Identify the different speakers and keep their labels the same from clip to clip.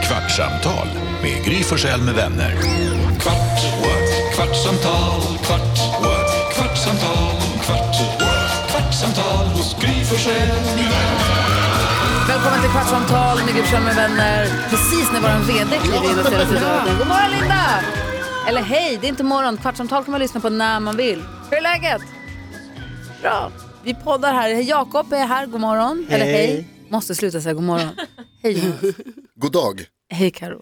Speaker 1: Kvartsamtal med Gry Forssell med vänner. Kvart, what? kvartsamtal, kvart, what? kvartsamtal, kvart, what? kvartsamtal hos Gry Forssell med vänner.
Speaker 2: Välkommen till Kvartsamtal med Gry Forssell med vänner. Precis när vår VD kliver in och ställer sig i dörren. God morgon Linda! Eller hej, det är inte morgon. Kvartsamtal kan man lyssna på när man vill. Hur är läget? Bra. Vi poddar här. Jakob är här, god morgon. Eller hej. Måste sluta säga god morgon. hej Jonas.
Speaker 3: God dag.
Speaker 2: Hej Karo.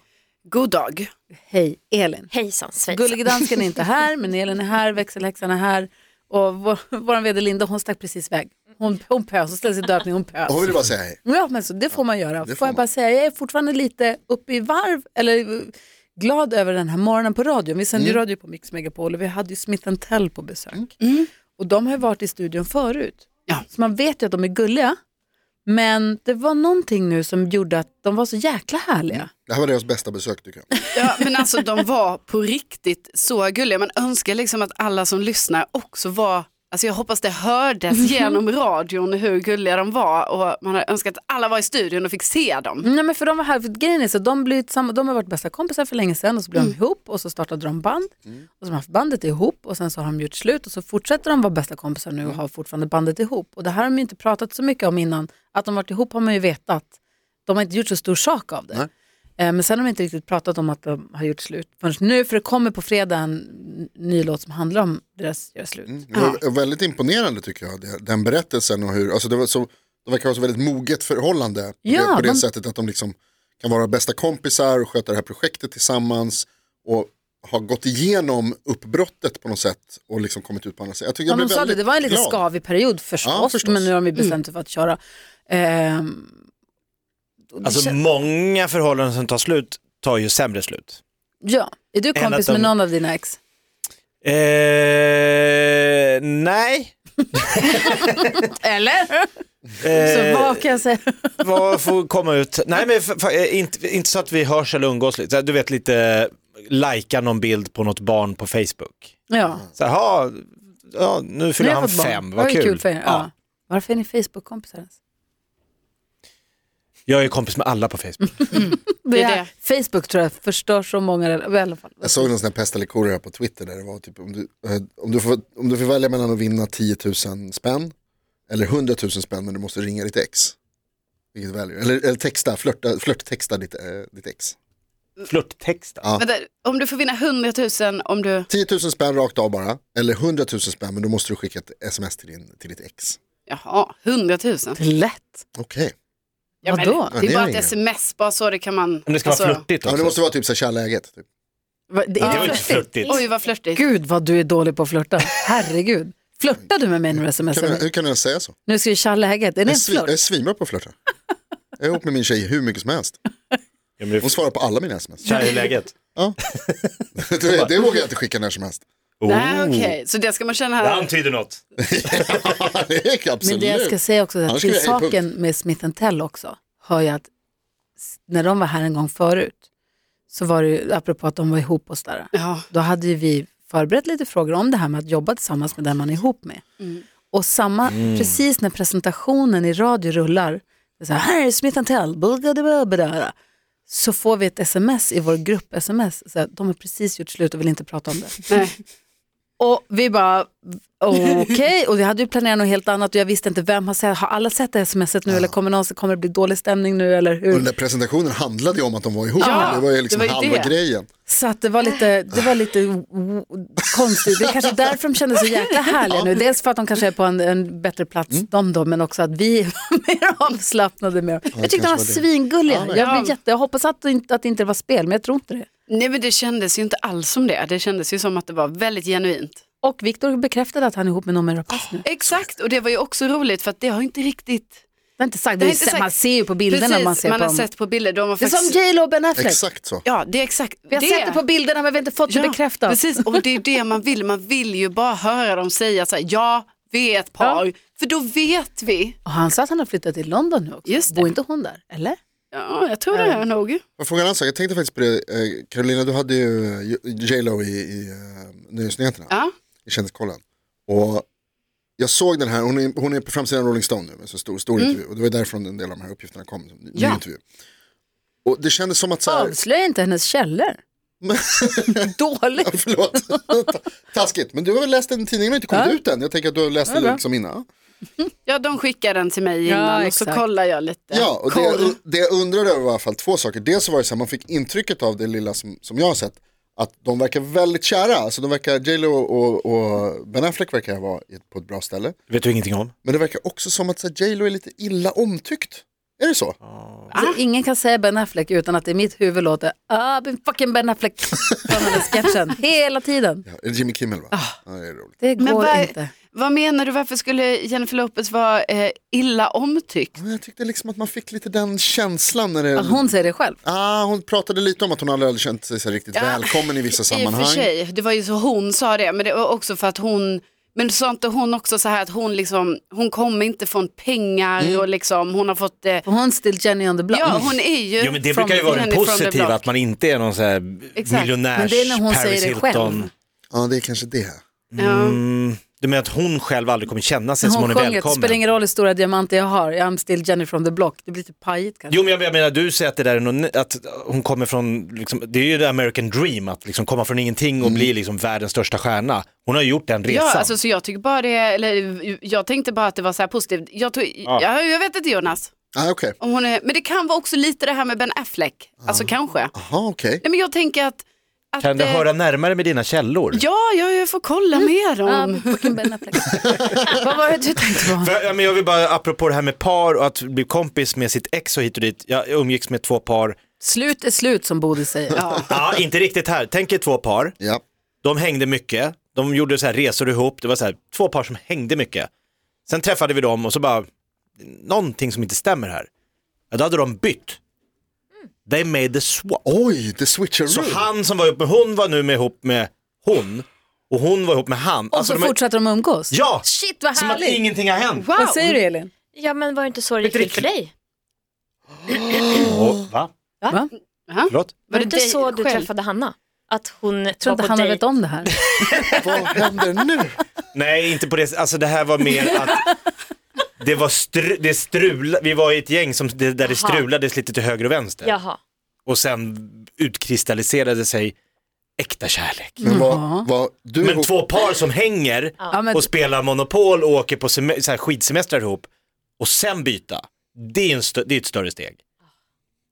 Speaker 4: God dag.
Speaker 2: Hej Elin.
Speaker 5: Hejsan svejsan.
Speaker 2: Gullige dansken är inte här, men Elin är här, växelhäxan är här. Och vår, vår vd Linda, hon stack precis iväg. Hon, hon pös, hon ställde sig i döpning, hon pös.
Speaker 3: Hon ville bara säga hej.
Speaker 2: Ja, men så, det får man göra.
Speaker 3: det
Speaker 2: Får,
Speaker 3: får
Speaker 2: jag
Speaker 3: man.
Speaker 2: bara säga, jag är fortfarande lite uppe i varv, eller eh, glad över den här morgonen på radion. Vi sände ju
Speaker 3: Mm.
Speaker 2: radio på Mix Megapol och vi hade ju Smith Tell på besök. Och de har ju varit i studion förut.
Speaker 4: Ja.
Speaker 2: Så man vet ju att de är gulliga. Men det var någonting nu som gjorde att de var så jäkla härliga.
Speaker 3: Det här var deras bästa besök tycker jag.
Speaker 4: Ja, men alltså de var på riktigt så gulliga. Man önskar liksom att alla som lyssnar också var, alltså jag hoppas det hördes
Speaker 2: Mm.
Speaker 4: genom radion hur gulliga de var och man har önskat att alla var i studion och fick se dem.
Speaker 2: Nej men för de var här, för grejen är så, de, blev tillsammans, de har varit bästa kompisar för länge sedan och så blev de ihop och så startade de band och så har de haft bandet ihop och sen så har de gjort slut och så fortsätter de vara bästa kompisar nu och har fortfarande bandet ihop. Och det här har de ju inte pratat så mycket om innan, att de varit ihop har man ju vetat. De har inte gjort så stor sak av det.
Speaker 3: Nej.
Speaker 2: Eh, Men sen har de inte riktigt pratat om att de har gjort slut förrän nu, för det kommer på fredag en ny låt som handlar om deras göra slut.
Speaker 3: Det var väldigt imponerande tycker jag, det- den berättelsen och hur, alltså det var så, det verkar vara så väldigt moget förhållande på
Speaker 2: Ja,
Speaker 3: det, på det
Speaker 2: man-
Speaker 3: sättet att de liksom kan vara bästa kompisar och sköta det här projektet tillsammans och har gått igenom uppbrottet på något sätt och liksom kommit ut på andra sidan. Jag tycker jag
Speaker 2: Ja,
Speaker 3: blev
Speaker 2: de sa det,
Speaker 3: väldigt
Speaker 2: det var en lite
Speaker 3: glad.
Speaker 2: skavig period förstås,
Speaker 3: Ja, förstås. Mm.
Speaker 2: men nu har de ju bestämt sig för att köra. Ehm, och det
Speaker 6: Alltså
Speaker 2: kän-
Speaker 6: många förhållanden som tar slut tar ju sämre slut.
Speaker 2: Ja, är du
Speaker 6: Än att
Speaker 2: kompis
Speaker 6: de-
Speaker 2: med någon av dina ex?
Speaker 6: Eh, nej.
Speaker 2: Eller?
Speaker 6: Eh,
Speaker 2: Så vad kan jag säga?
Speaker 6: vad får komma ut? Nej men f- f- eh, inte, inte så att vi hörs eller umgås lite. Så här, Du vet lite, lajka någon bild på något barn på Facebook.
Speaker 2: Ja.
Speaker 6: Så här, "Ha, ja, nu
Speaker 2: Nu
Speaker 6: fyller
Speaker 2: har jag
Speaker 6: han
Speaker 2: fått barn.
Speaker 6: fem, vad kul.
Speaker 2: kul för er. Ja.
Speaker 6: Ja.
Speaker 2: Varför är ni Facebook-kompisar ens?
Speaker 6: Jag är kompis med alla på Facebook.
Speaker 2: Det
Speaker 4: är
Speaker 2: är Facebook tror jag förstör så många, rela- i alla fall.
Speaker 6: Alltså-
Speaker 3: Jag såg någon sån här pest eller kolera på Twitter där det var typ om du, eh, om, du får, om du får välja mellan att vinna 10 000 spänn eller 100 000 spänn men du måste ringa ditt ex. Vilket väljer du? Eller, eller texta, flörta, flörttexta ditt, eh, ditt ex.
Speaker 6: Flörttexta.
Speaker 3: Ja.
Speaker 4: Vänta, om du får vinna 100 000 om du,
Speaker 3: 10 000 spänn rakt av bara, eller 100 000 spänn men då måste du skicka ett sms till, din, till ditt ex.
Speaker 4: jaha, 100 000.
Speaker 2: Det är lätt.
Speaker 3: Okej,
Speaker 4: Ja, men
Speaker 2: Vadå?
Speaker 3: Ja, det
Speaker 4: Det är
Speaker 3: är
Speaker 4: bara ett
Speaker 3: inget.
Speaker 4: sms, bara så det kan man.
Speaker 6: Men det ska
Speaker 4: alltså,
Speaker 6: vara flörtigt
Speaker 3: ja, men
Speaker 6: också.
Speaker 3: det måste vara typ så här kärläget. Typ.
Speaker 2: Va- Det
Speaker 6: Det
Speaker 2: är
Speaker 6: var ju inte
Speaker 2: flörtigt.
Speaker 6: flörtigt.
Speaker 4: Oj vad flörtigt.
Speaker 2: Gud vad du är dålig på att flörta. Herregud. Flörtar du med mig när du smsar
Speaker 3: Kan jag,
Speaker 2: mig?
Speaker 3: hur kan jag säga så?
Speaker 2: Nu ska vi tjalla läget. Är det
Speaker 3: Jag
Speaker 2: en
Speaker 3: är, svi, jag
Speaker 2: flört?
Speaker 3: är svinbra på att flörta. Jag är ihop med min tjej hur mycket som helst.
Speaker 6: Ja, men det är
Speaker 3: Hon
Speaker 6: f-
Speaker 3: svarar på alla mina sms.
Speaker 6: Kär i läget.
Speaker 3: Ja. det, det vågar jag inte skicka när som helst.
Speaker 4: Nej, okej, så det ska man känna
Speaker 6: Det
Speaker 4: här.
Speaker 6: antyder Oh. något.
Speaker 3: det är absolut.
Speaker 2: Men det jag ska säga också, är att
Speaker 3: Annars skulle
Speaker 2: till
Speaker 3: jag-
Speaker 2: saken med Smith Tell också, hör jag att s- när de var här en gång förut, så var det ju, apropå att de var ihop och sådär,
Speaker 4: Ja.
Speaker 2: då hade ju vi förberett lite frågor om det här med att jobba tillsammans med den man är ihop med. Och samma, precis när presentationen i radio rullar, det är så här, här är Smith Tell, bulgadibabadara", så får vi ett sms i vår grupp-sms, så här, de har precis gjort slut och vill inte prata om det.
Speaker 4: Nej.
Speaker 2: Och vi bara, okej, och vi hade ju planerat något helt annat och jag visste inte vem har sett, har alla sett det smset nu eller kommer någon, så kommer det bli dålig stämning nu eller
Speaker 3: Och den
Speaker 2: hur?
Speaker 3: där presentationen handlade ju om att de var ihop.
Speaker 4: Ja,
Speaker 3: det var ju liksom
Speaker 4: det var ju
Speaker 3: halva
Speaker 4: det.
Speaker 3: grejen.
Speaker 2: Så att det var lite, det var lite o- o- konstigt, det är kanske därför de kände sig jäkla härliga nu, dels för att de kanske är på en, en bättre plats
Speaker 3: Mm.
Speaker 2: de då, men också att vi var mer avslappnade med dem. Jag tyckte de var
Speaker 3: kanske var det.
Speaker 2: svingulliga,
Speaker 3: Ja,
Speaker 2: jag, blir jätte, jag hoppas att, det inte- att det inte var spel, men jag tror inte det.
Speaker 4: Nej men det kändes ju inte alls som det. Det kändes ju som att det var väldigt genuint.
Speaker 2: Och Viktor bekräftade att han är ihop med någon med rapace nu.
Speaker 4: Exakt, och det var ju också roligt för att det har inte riktigt...
Speaker 2: Det är inte sagt, det
Speaker 4: Det har
Speaker 2: är
Speaker 4: inte
Speaker 2: ju-
Speaker 4: sagt-
Speaker 2: man ser ju på bilderna
Speaker 4: Precis,
Speaker 2: man ser
Speaker 4: man
Speaker 2: på
Speaker 4: har
Speaker 2: dem.
Speaker 4: sett på bilder. De har
Speaker 2: Det är
Speaker 4: faktiskt...
Speaker 2: som J.Lo och Ben Affleck.
Speaker 3: Exakt så.
Speaker 4: Ja, det är exakt.
Speaker 2: Vi har
Speaker 4: det.
Speaker 2: sett det på bilderna men vi har inte fått
Speaker 4: Ja,
Speaker 2: det bekräftat.
Speaker 4: Precis, och det är det man vill. Man vill ju bara höra dem säga så här, ja, vi är ett par. För då vet vi.
Speaker 2: Och han sa att han har flyttat till London nu också.
Speaker 4: Just det.
Speaker 2: Bor inte hon där? Eller?
Speaker 4: Ja, jag tror det är nog.
Speaker 3: Vad frågan alltså, jag tänkte faktiskt på det, eh, Carolina du hade ju eh, J Lo i, i eh, nyhetsnyheterna,
Speaker 4: Ja.
Speaker 3: i Kändiskollen. Och jag såg den här, hon är, hon är alltså på framsidan av Rolling Stone nu, med så stor, stor intervju. Och det var därifrån en del av de här uppgifterna kom, en ny
Speaker 4: Ja.
Speaker 3: intervju. Och det kändes som att så här,
Speaker 2: Avslöja inte hennes källor. Dåligt.
Speaker 3: förlåt, taskigt, men du har väl läst den tidningen och inte kommit
Speaker 2: Ja.
Speaker 3: ut än. Jag tänker att du har läst den liksom innan.
Speaker 4: Ja, de skickar den till mig innan och så
Speaker 2: exakt.
Speaker 4: kollar jag lite.
Speaker 3: Ja, och det,
Speaker 4: Koll.
Speaker 3: jag- det jag undrade över var i alla fall två saker. Dels så var det så här, man fick intrycket av det lilla som, som jag har sett, att de verkar väldigt kära. Alltså de verkar, J.Lo och, och Ben Affleck verkar vara i- på ett bra ställe.
Speaker 6: vet du ingenting om.
Speaker 3: Men det verkar också som att så här, J.Lo är lite illa omtyckt. Är det så?
Speaker 4: Ah.
Speaker 2: Alltså, ingen kan säga Ben Affleck utan att det i mitt huvud låter ah, ben fucking Ben Affleck från den där sketchen hela tiden.
Speaker 3: Ja, Jimmy Kimmel va?
Speaker 4: Ah.
Speaker 3: Ja, det är roligt.
Speaker 2: Det går
Speaker 4: Men vad,
Speaker 2: inte.
Speaker 4: vad menar du, varför skulle Jennifer Lopez vara eh, illa omtyckt?
Speaker 3: Men jag tyckte liksom att man fick lite den känslan när det...
Speaker 2: Att hon säger det själv.
Speaker 3: Ah, hon pratade lite om att hon aldrig hade känt sig så här riktigt välkommen i vissa
Speaker 4: I och
Speaker 3: sammanhang.
Speaker 4: för sig, det var ju så hon sa det, men det var också för att hon, men sa inte hon också så här att hon liksom, hon kommer inte från pengar
Speaker 2: Mm.
Speaker 4: och liksom, hon har fått, eh,
Speaker 2: För hon still Jenny on the block.
Speaker 4: ja hon är ju
Speaker 6: Jo men det
Speaker 4: från-
Speaker 6: brukar ju vara
Speaker 4: Jenny
Speaker 6: det
Speaker 4: from the block.
Speaker 6: positiva, att man inte är någon så här
Speaker 4: Exakt.
Speaker 2: Men det är
Speaker 6: miljonärs
Speaker 2: när hon
Speaker 6: Paris
Speaker 2: säger det själv.
Speaker 6: Hilton.
Speaker 3: Ja, det är kanske det.
Speaker 4: Ja.
Speaker 6: Mm, du menar att hon själv aldrig kommer känna sig
Speaker 2: Hon,
Speaker 6: som hon är
Speaker 2: sjunger, det
Speaker 6: välkommen?
Speaker 2: spelar ingen roll hur stora diamanter jag har, I'm still Jenny from the block. Det blir lite pajigt kanske.
Speaker 6: Jo men jag- jag menar du säger att det där är någon, att hon kommer från, liksom, det är ju the American dream att liksom komma från ingenting och
Speaker 2: Mm.
Speaker 6: bli liksom världens största stjärna. Hon har ju gjort den resan.
Speaker 4: Ja, alltså, så jag tycker bara det, eller jag tänkte bara att det var så här positivt. Jag, tror, ja. jag vet inte Jonas,
Speaker 3: Ah, Okej,
Speaker 4: om hon är, men det kan vara också lite det här med Ben Affleck, alltså kanske.
Speaker 3: Aha, okej.
Speaker 4: Nej men jag tänker att, att
Speaker 6: kan du
Speaker 4: eh,
Speaker 6: höra närmare med dina källor?
Speaker 4: Ja, jag, jag får kolla mer
Speaker 2: Ah,
Speaker 4: om.
Speaker 2: fucking Ben Affleck. Vad var det du tänkte på?
Speaker 6: För, ja, men jag vill bara, apropå det här med par och att bli kompis med sitt ex och hit och dit. Jag umgicks med två par,
Speaker 2: Slut är slut som Bodil säger.
Speaker 6: ja inte riktigt här, tänk er två par,
Speaker 3: Ja.
Speaker 6: de hängde mycket, de gjorde så här resor ihop, det var så här, två par som hängde mycket. Sen träffade vi dem och så bara, någonting som inte stämmer här. Ja, då hade de bytt. They made the swap.
Speaker 3: Oj, the switcheroo.
Speaker 6: Så han som var ihop med hon var nu med ihop med hon och hon var ihop med han.
Speaker 2: Och så
Speaker 6: Alltså, de är-
Speaker 2: fortsätter de umgås.
Speaker 6: Ja!
Speaker 2: Shit vad
Speaker 6: Som att
Speaker 2: härligt.
Speaker 6: ingenting har hänt.
Speaker 4: Wow.
Speaker 2: Vad säger du Elin?
Speaker 5: Ja men var det inte så det gick till för
Speaker 6: riktigt.
Speaker 5: dig?
Speaker 6: Och, va?
Speaker 2: Va?
Speaker 4: Ja.
Speaker 6: Förlåt?
Speaker 5: Var det inte
Speaker 4: dig
Speaker 5: så du
Speaker 4: själv?
Speaker 5: träffade Hanna? Att hon
Speaker 2: Jag tror inte han har vet om det här.
Speaker 3: Vad händer nu?
Speaker 6: Nej, inte på det Alltså det här var mer att det var stru, det strula, vi var i ett gäng som, det, där det
Speaker 5: Aha.
Speaker 6: strulades lite till höger och vänster.
Speaker 5: Jaha.
Speaker 6: Och sen utkristalliserade sig äkta kärlek.
Speaker 3: Men vad, vad, du
Speaker 6: Men
Speaker 3: ihop-
Speaker 6: två par som hänger
Speaker 2: Ja, men,
Speaker 6: och spelar Monopol och åker på sem- så här skidsemestrar ihop och sen byta. Det är, en stö- det är ett större steg.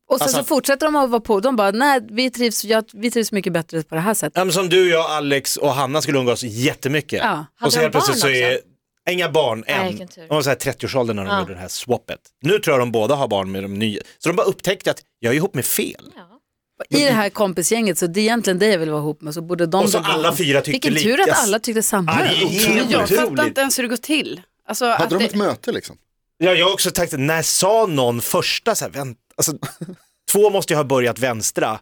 Speaker 2: och sen
Speaker 6: alltså-
Speaker 2: så fortsätter de att vara på. De bara, nej vi trivs, jag, vi trivs mycket bättre på det här sättet.
Speaker 6: Ja, men som du, jag, Alex och Hanna skulle umgås jättemycket.
Speaker 2: Ja.
Speaker 6: Och så
Speaker 5: Hade
Speaker 6: helt
Speaker 5: de
Speaker 6: plötsligt så
Speaker 5: barn
Speaker 6: är inga barn
Speaker 5: Nej,
Speaker 6: än.
Speaker 5: vilken
Speaker 6: De
Speaker 5: tur.
Speaker 6: var så här 30-årsåldern när de
Speaker 5: Ja.
Speaker 6: gjorde det här swappet. Nu tror jag de båda har barn med de nya. Så de bara upptäckte att jag är ihop med fel.
Speaker 2: I det här kompisgänget, så det är egentligen det jag vill vara ihop med. Så borde de
Speaker 6: Och så
Speaker 2: då gå.
Speaker 6: alla fyra tyckte
Speaker 2: Vilken tur
Speaker 6: lika.
Speaker 2: att alla tyckte samma.
Speaker 6: Mm. Ja, det är helt
Speaker 4: Jag fattar
Speaker 6: otroligt.
Speaker 4: inte ens hur det går till. Alltså, att
Speaker 3: Hade de
Speaker 4: det,
Speaker 3: ett möte liksom?
Speaker 6: Ja, jag har också tänkt, när sa någon första så här, vänt, alltså, två måste ju ha börjat vänstra.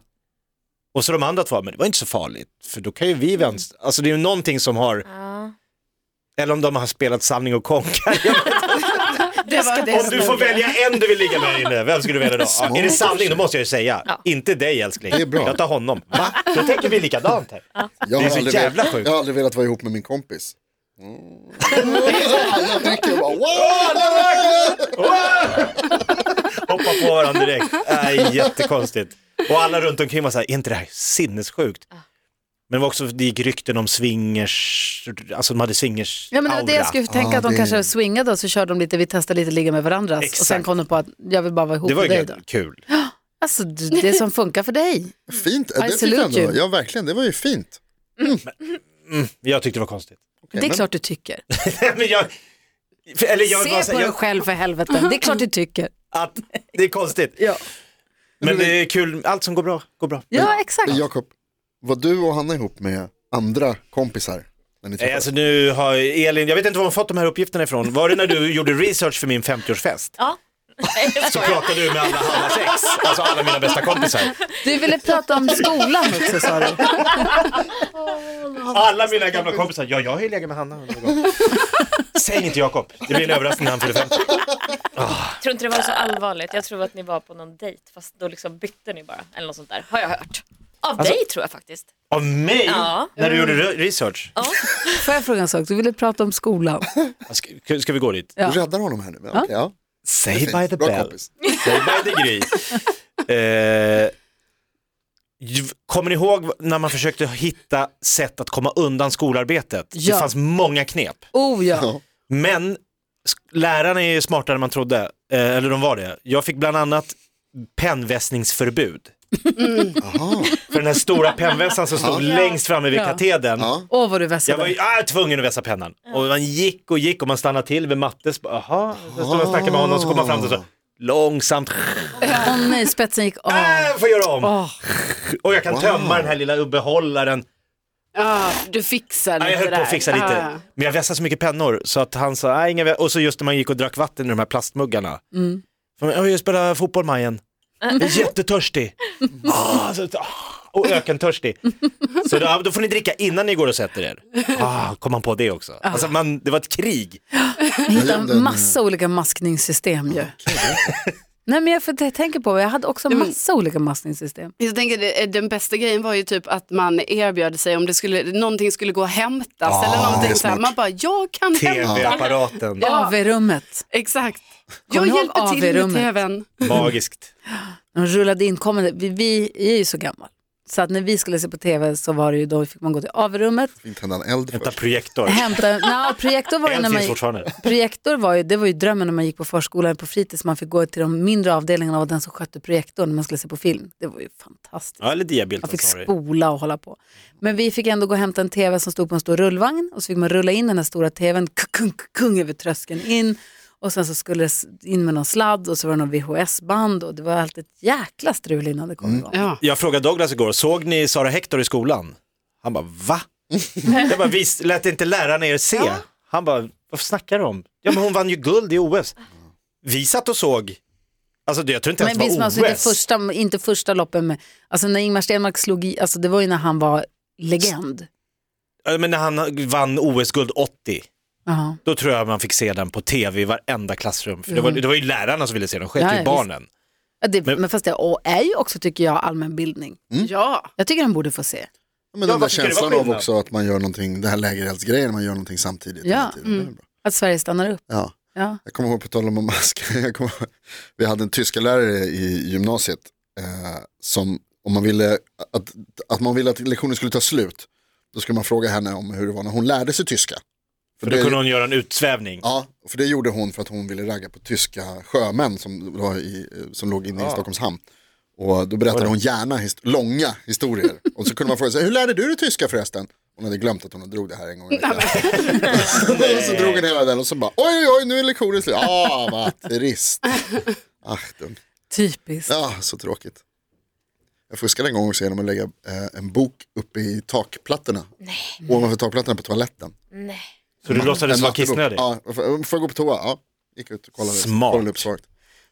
Speaker 6: Och så de andra två, men det var inte så farligt, för då kan ju vi vänstra. Alltså det är ju någonting som har,
Speaker 5: Ja.
Speaker 6: eller om de har spelat sanning och konka.
Speaker 4: det var det
Speaker 6: Om du får välja en du vill ligga med inne, vem skulle du välja då? Ja, är det sanning, då måste jag ju säga. Inte dig älskling,
Speaker 3: Det är bra.
Speaker 6: jag tar honom. Va? Då tänker vi likadant här.
Speaker 3: Jag
Speaker 6: Det är så
Speaker 3: aldrig
Speaker 6: jävla
Speaker 3: velat,
Speaker 6: sjukt.
Speaker 3: Jag har aldrig velat vara ihop med min kompis. Mm. jag dricker och bara wow!
Speaker 6: Hoppa på varandra direkt. Äh, jättekonstigt. Och alla runt omkring var så här, är inte det här sinnessjukt? Men det var också, det gick rykten om swingers, alltså de hade swingers
Speaker 2: Ja men det var det jag
Speaker 6: aura.
Speaker 2: skulle tänka
Speaker 3: Ja,
Speaker 2: att de
Speaker 3: det-
Speaker 2: kanske swingade och så körde de lite, vi testade lite ligga med varandras och sen
Speaker 6: Exakt.
Speaker 2: kom de på att jag vill bara vara ihop
Speaker 6: Det var
Speaker 2: med
Speaker 6: ju
Speaker 2: dig då.
Speaker 6: ganska kul.
Speaker 2: Alltså du- det som funkar för dig.
Speaker 3: Fint, Ja,
Speaker 2: I
Speaker 3: det tyckte jag
Speaker 2: salute
Speaker 3: ändå.
Speaker 2: you.
Speaker 3: Ja verkligen, det var ju fint.
Speaker 6: Jag tyckte det var konstigt.
Speaker 3: Okej,
Speaker 2: det är
Speaker 3: men-
Speaker 2: klart du tycker.
Speaker 6: men jag, för, eller jag, var
Speaker 2: Se
Speaker 6: så
Speaker 2: på
Speaker 6: här,
Speaker 2: dig
Speaker 6: jag,
Speaker 2: själv för helvete, det är klart du tycker.
Speaker 6: att det är konstigt.
Speaker 2: Ja,
Speaker 6: Men det är kul, allt som går bra, går bra.
Speaker 2: ja exakt.
Speaker 3: Men Jakob, var du och Hanna ihop med andra kompisar? När ni
Speaker 6: Nej,
Speaker 3: träffades?
Speaker 6: Alltså nu har Elin, jag vet inte var hon fått de här uppgifterna ifrån. Var det när du gjorde research för min 50-årsfest?
Speaker 5: Ja.
Speaker 6: Så pratade du med alla Hannas ex, alltså alla mina bästa kompisar.
Speaker 2: Du ville prata om skolan också sa du.
Speaker 6: Alla mina gamla kompisar, ja jag har ju legat med Hanna någon gång. Säg inte Jakob, det blir en överraskning när han fyller 50.
Speaker 5: Jag tror inte det var så allvarligt. Jag tror att ni var på någon dejt fast då liksom bytte ni bara. Eller något sånt där. Har jag hört. Av dig tror jag faktiskt.
Speaker 6: Av mig?
Speaker 5: Ja.
Speaker 6: När du gjorde re- research?
Speaker 2: Får jag fråga en sak, du ville prata om skolan.
Speaker 6: Ska, ska vi gå dit?
Speaker 2: Ja.
Speaker 3: Du räddar honom här nu. men okej, ja.
Speaker 6: Say alltså- by the
Speaker 3: Bra
Speaker 6: bell,
Speaker 3: kompis.
Speaker 6: say by the gry. Eh, ju- kommer ni ihåg när man försökte hitta sätt att komma undan skolarbetet?
Speaker 2: Ja.
Speaker 6: Det fanns många knep.
Speaker 2: Oh ja.
Speaker 3: Ja.
Speaker 6: Men sk- lärarna är ju smartare än man trodde, eh, eller de var det. Jag fick bland annat pennvässningsförbud.
Speaker 3: Aha.
Speaker 6: För den här stora pennvässan som stod längst framme vid
Speaker 2: Ja.
Speaker 6: katedern.
Speaker 3: Ja.
Speaker 2: Åh vad du
Speaker 6: Jag var
Speaker 2: vässade.
Speaker 6: ju ah, tvungen att vässa pennan. Och man gick och gick och man stannade till vid Mattes. Bara, Jaha, så stod jag och snackade med honom så kom man fram till så långsamt.
Speaker 2: Åh nej, spetsen gick av.
Speaker 6: Ah, jag får göra om.
Speaker 2: Åh.
Speaker 6: Och jag kan
Speaker 3: Wow.
Speaker 6: tömma den här lilla behållaren.
Speaker 4: Ja, du fixar
Speaker 6: Ah,
Speaker 4: lite
Speaker 6: jag höll på
Speaker 4: där.
Speaker 6: att fixa lite.
Speaker 4: Ja.
Speaker 6: Men jag vässade så mycket pennor så att han sa, nej inga vä-" Och så just när man gick och drack vatten i de här plastmuggarna.
Speaker 2: Mm.
Speaker 6: Så, Jag har ju spelat fotboll Majen. Jag är jättetörstig. Ah, så, ah, och ökentörstig. Så då, då får ni dricka innan ni går och sätter er. Ah, kom man på det också. Alltså man, det var ett krig.
Speaker 3: Jag
Speaker 2: hittade
Speaker 3: glömde-
Speaker 2: massa olika maskningssystem ju. Nej men jag, för, jag tänker på det, jag hade också massa olika maskningssystem.
Speaker 4: Jag tänker det- eh, den bästa grejen var ju typ att man erbjöd sig om det skulle, någonting skulle gå och hämtas eller
Speaker 3: Ah, det är
Speaker 4: någonting så här.
Speaker 3: smart.
Speaker 4: Man bara, jag kan hämta.
Speaker 6: TV-apparaten.
Speaker 4: Ja.
Speaker 2: AV-rummet,
Speaker 4: Exakt.
Speaker 2: Kommer
Speaker 4: Jag
Speaker 2: ni ihåg
Speaker 4: hjälper till med
Speaker 2: AV-rummet?
Speaker 4: tvn.
Speaker 6: Magiskt.
Speaker 2: de rullade in kommande, vi, vi jag är ju så gammal. Så att när vi skulle se på tv så var det ju då fick man gå till AV-rummet,
Speaker 3: Fick inte tända en eld
Speaker 6: Hämta
Speaker 3: först.
Speaker 6: projektor.
Speaker 2: hämta, na, projektor var det
Speaker 6: Eld
Speaker 2: när man
Speaker 6: finns
Speaker 2: gick,
Speaker 6: fortfarande.
Speaker 2: projektor var ju, det var ju drömmen när man gick på förskolan på fritids, man fick gå till de mindre avdelningarna och vara den som skötte projektorn när man skulle se på film. Det var ju fantastiskt.
Speaker 6: Ja, eller
Speaker 2: Man
Speaker 6: diabilden,
Speaker 2: fick
Speaker 6: sorry.
Speaker 2: spola och hålla på. Men vi fick ändå gå och hämta en tv som stod på en stor rullvagn och så fick man rulla in den här stora tvn, k- kung, k- kung över tröskeln in och sen så skulle det s- in med någon sladd och så var det någon VHS-band och det var alltid ett jäkla strul innan det kom igång.
Speaker 4: Ja.
Speaker 6: Mm. Jag frågade Douglas igår, såg ni Sara Hector i skolan? Han bara, va? Jag bara, visst, lät inte lärarna er se? Han bara, vad snackar du om? Ja, men hon vann ju guld i OS. Vi satt och såg, alltså det- jag tror inte
Speaker 2: Men
Speaker 6: ens
Speaker 2: visst,
Speaker 6: det
Speaker 2: men
Speaker 6: var
Speaker 2: alltså det
Speaker 6: OS.
Speaker 2: första, inte första loppen, med, alltså när Ingmar Stenmark slog i, alltså det var ju när han var legend.
Speaker 6: Ja, Men när han vann OS-guld 80,
Speaker 2: Ja.
Speaker 6: då tror jag man fick se den på tv i varenda klassrum. För det, var, det var ju lärarna som ville se den,
Speaker 2: Mm. Ja,
Speaker 6: sket
Speaker 2: ja,
Speaker 6: ju i
Speaker 2: visst.
Speaker 6: barnen.
Speaker 2: Ja, det, men,
Speaker 6: Men- Mm.
Speaker 2: fast det och är ju också tycker jag allmänbildning.
Speaker 4: ja.
Speaker 2: Jag tycker de borde få se.
Speaker 3: Men den
Speaker 6: Ja,
Speaker 3: där
Speaker 6: vad tycker du var
Speaker 3: känslan av
Speaker 6: skillnad?
Speaker 3: också att man gör någonting, det här lägereldsgrejen, man gör någonting samtidigt.
Speaker 2: Ja,
Speaker 3: hela tiden. Det är bra.
Speaker 2: Att Sverige stannar upp.
Speaker 3: Ja.
Speaker 2: Ja.
Speaker 3: Jag kommer ihåg på tal om mask. Jag kommer ihåg, vi hade en tyska lärare i gymnasiet eh, som om man ville att, att man ville att lektionen skulle ta slut. Då skulle man fråga henne om hur det var när hon lärde sig tyska.
Speaker 6: För då kunde hon göra en utsvävning.
Speaker 3: Ja, för det gjorde hon för att hon ville ragga på tyska sjömän som, var i, som låg inne i Stockholms hamn. Och då berättade hon gärna hist långa historier. Och så kunde man fråga sig, hur lärde du dig tyska förresten? Hon hade glömt att hon drog det här en gång i veckan. och så drog hon hela den och så bara, oj oj oj, nu är lektionen slut. Ah, vad trist. Achtung.
Speaker 2: Typiskt.
Speaker 3: Ja, så tråkigt. Jag fuskade en gång också genom att lägga eh, en bok uppe i takplattorna. Ovanför takplattorna på toaletten.
Speaker 6: Så du låtsades
Speaker 3: Mm. En
Speaker 6: vara
Speaker 3: mattebok.
Speaker 6: kissnödig?
Speaker 3: Ja, får får jag gå på toa? Ja, gick ut och kollade.
Speaker 6: Smart.
Speaker 3: kollade upp svaret.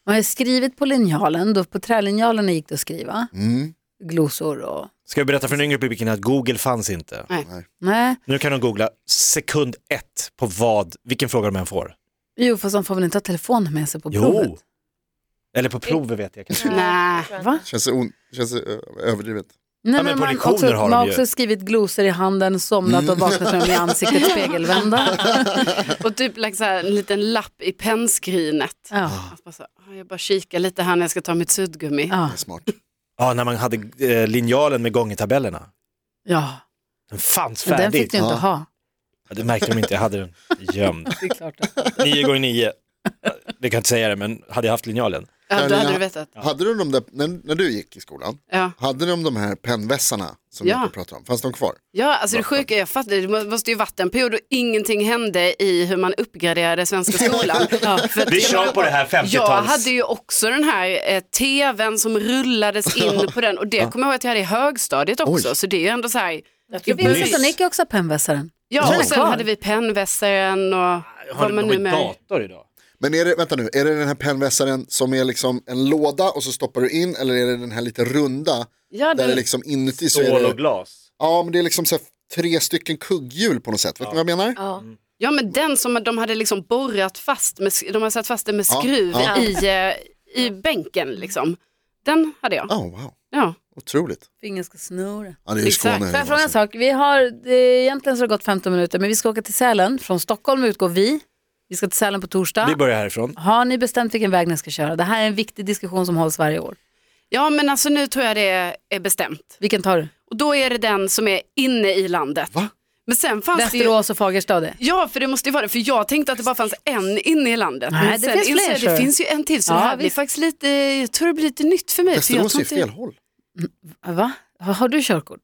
Speaker 2: Man har skrivit på linjalen, då på trälinjalen gick det att skriva.
Speaker 6: Mm.
Speaker 3: Mm.
Speaker 2: Glosor och...
Speaker 6: Ska jag berätta för den yngre publiken att Google fanns inte.
Speaker 2: Nej,
Speaker 6: Nu kan de googla sekund ett på vad, vilken fråga de än får.
Speaker 2: jo fast de får väl inte ha telefonen med sig på
Speaker 6: Jo!
Speaker 2: provet?
Speaker 6: Eller på prover vet jag kanske.
Speaker 4: Nej.
Speaker 2: Va?
Speaker 3: Känns, on, känns eh, överdrivet.
Speaker 2: Nej,
Speaker 6: Ja, men
Speaker 2: men
Speaker 6: på
Speaker 2: man
Speaker 6: lektioner
Speaker 2: också,
Speaker 6: har de
Speaker 2: man har
Speaker 6: ju. Mm.
Speaker 2: också skrivit glosor i handen, somnat och vaknat med dem i ansiktet spegelvända.
Speaker 4: Och typ lagt så här, en liten lapp i pennskrinet.
Speaker 2: Ja.
Speaker 4: Att bara så, "Ah, Jag bara kikar lite här när jag ska ta mitt suddgummi.
Speaker 2: Ja.
Speaker 3: Det är smart.
Speaker 6: Ja, när man hade eh, linjalen med gångertabellerna.
Speaker 2: ja,
Speaker 6: Den fanns
Speaker 2: men den fick
Speaker 6: färdigt.
Speaker 2: du inte ha.
Speaker 6: Ja, det märkte de inte, jag hade den gömd.
Speaker 2: Det är klart. att-
Speaker 6: Nio gånger nio. Det kan jag inte säga det, men hade jag haft linjalen.
Speaker 4: Ja, då
Speaker 3: Carolina-
Speaker 4: hade du vetat.
Speaker 3: Hade du de där, när, när du gick i skolan,
Speaker 4: Ja,
Speaker 3: hade de de här pennvässarna som
Speaker 4: Ja.
Speaker 3: vi pratade om? Fanns de kvar?
Speaker 4: ja alltså det sjuka, jag fattar, det må- måste ju varit en period då ingenting hände i hur man uppgraderade svenska skolan. ja, för
Speaker 6: Vi kör på det här 50-tals...
Speaker 4: Jag hade ju också den här eh, tvn som rullades in på den och det kommer jag ihåg att jag hade i högstadiet också. Så det är ju ändå så här,
Speaker 2: Jag vet inte, Nick är också ha pennvässaren. Den
Speaker 4: ja
Speaker 2: är
Speaker 4: och sen
Speaker 2: kvar.
Speaker 4: hade vi pennvässaren och
Speaker 6: Har
Speaker 4: vad
Speaker 6: du
Speaker 4: man nu
Speaker 6: någon
Speaker 4: med.
Speaker 6: dator idag?
Speaker 3: Men är det, vänta nu, är det den här pennvässaren som är liksom en låda och så stoppar du in eller är det den här lite runda
Speaker 4: Ja,
Speaker 3: där det
Speaker 4: den,
Speaker 3: liksom inuti så är
Speaker 6: Stål och
Speaker 3: det,
Speaker 6: glas.
Speaker 3: ja men det är liksom så här tre stycken kugghjul på något sätt, vet ni vad jag menar?
Speaker 5: Ja.
Speaker 4: ja men den som de hade liksom borrat fast, med, sk- de hade satt fast den med
Speaker 3: Ja,
Speaker 4: skruv
Speaker 3: ja.
Speaker 4: I, eh, i bänken liksom. Den hade jag.
Speaker 3: Ja, oh, wow,
Speaker 4: Ja.
Speaker 3: otroligt.
Speaker 2: Fingret ska snurra.
Speaker 3: Ja, det är ju
Speaker 4: Exakt.
Speaker 3: Skåne.
Speaker 2: Får jag fråga en sak? Vi har, det, egentligen så har det gått 15 minuter, men vi ska åka till Sälen. Från Stockholm utgår vi. Vi ska till Sälen på torsdag.
Speaker 6: Vi börjar härifrån.
Speaker 2: Har ni bestämt vilken väg ni ska köra? Det här är en viktig diskussion som hålls varje år.
Speaker 4: Ja men alltså nu tror jag det är bestämt.
Speaker 2: Vilken tar du?
Speaker 4: Och då är det den som är inne i landet.
Speaker 3: Va?
Speaker 4: Men sen fanns det ju...
Speaker 2: Västerås och Fagersta det.
Speaker 4: Ja för det måste ju vara det, för jag tänkte att det bara fanns en inne i landet.
Speaker 2: Nej,
Speaker 4: Men
Speaker 2: det
Speaker 4: sen
Speaker 2: finns
Speaker 4: inser
Speaker 2: fler,
Speaker 4: jag,
Speaker 2: tror
Speaker 4: Det
Speaker 2: jag.
Speaker 4: finns ju en till så
Speaker 2: Ja,
Speaker 4: det här blir
Speaker 2: visst.
Speaker 4: faktiskt lite, jag tror det blir lite nytt för mig. för jag
Speaker 3: Västerås
Speaker 4: tror
Speaker 3: är
Speaker 4: inte-
Speaker 3: fel håll.
Speaker 2: Va? Har, har du körkort?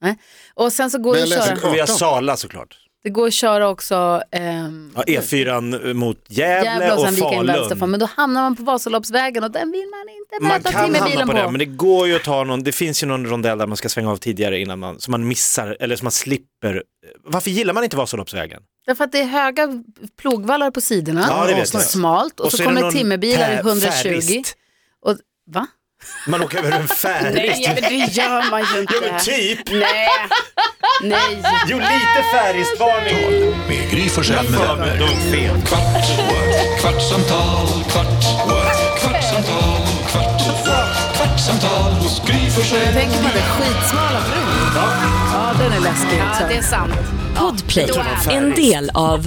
Speaker 3: Nej.
Speaker 2: Och sen så går det
Speaker 3: Men
Speaker 2: att
Speaker 3: jag läser
Speaker 2: köra,
Speaker 3: kort.
Speaker 6: Via Sala såklart.
Speaker 2: det går att köra också ehm,
Speaker 6: Ja, E4 mot Gävle,
Speaker 2: Gävle och sen
Speaker 6: och
Speaker 2: vika in vänsterfart.
Speaker 6: Falun.
Speaker 2: Men då hamnar man på Vasaloppsvägen och den vill man inte
Speaker 6: Man
Speaker 2: möta till
Speaker 6: kan
Speaker 2: med
Speaker 6: hamna
Speaker 2: bilen
Speaker 6: på
Speaker 2: på.
Speaker 6: det, men det går ju att ta någon, det finns ju någon rondell där man ska svänga av tidigare innan man, så man missar, eller så man slipper. Varför gillar man inte Vasaloppsvägen?
Speaker 2: Därför att det är höga plogvallar på sidorna,
Speaker 6: Ja, det vet jag.
Speaker 2: smalt och, så,
Speaker 6: är det
Speaker 2: kommer
Speaker 6: någon
Speaker 2: timmerbilar i
Speaker 6: fär-
Speaker 2: 120.
Speaker 6: färrist.
Speaker 2: Och, va?
Speaker 6: Man åker över en färrist.
Speaker 4: Nej men det gör man ju
Speaker 6: Jo men
Speaker 4: inte.
Speaker 6: typ,
Speaker 4: Nej, nej.
Speaker 6: jo lite färristvarning.
Speaker 1: Med Gry Forssell med
Speaker 6: Fan,
Speaker 1: vänner.
Speaker 6: det var fel.
Speaker 1: Kvart, what? kvartsamtal, kvart, what? kvartsamtal, kvart, what? kvartsamtal hos Gry Forssell
Speaker 2: Tänk på den skitsmala bron. Ja. den är läskig.
Speaker 4: Ja, det är sant.
Speaker 7: Podplay,
Speaker 4: Då är-
Speaker 7: en del av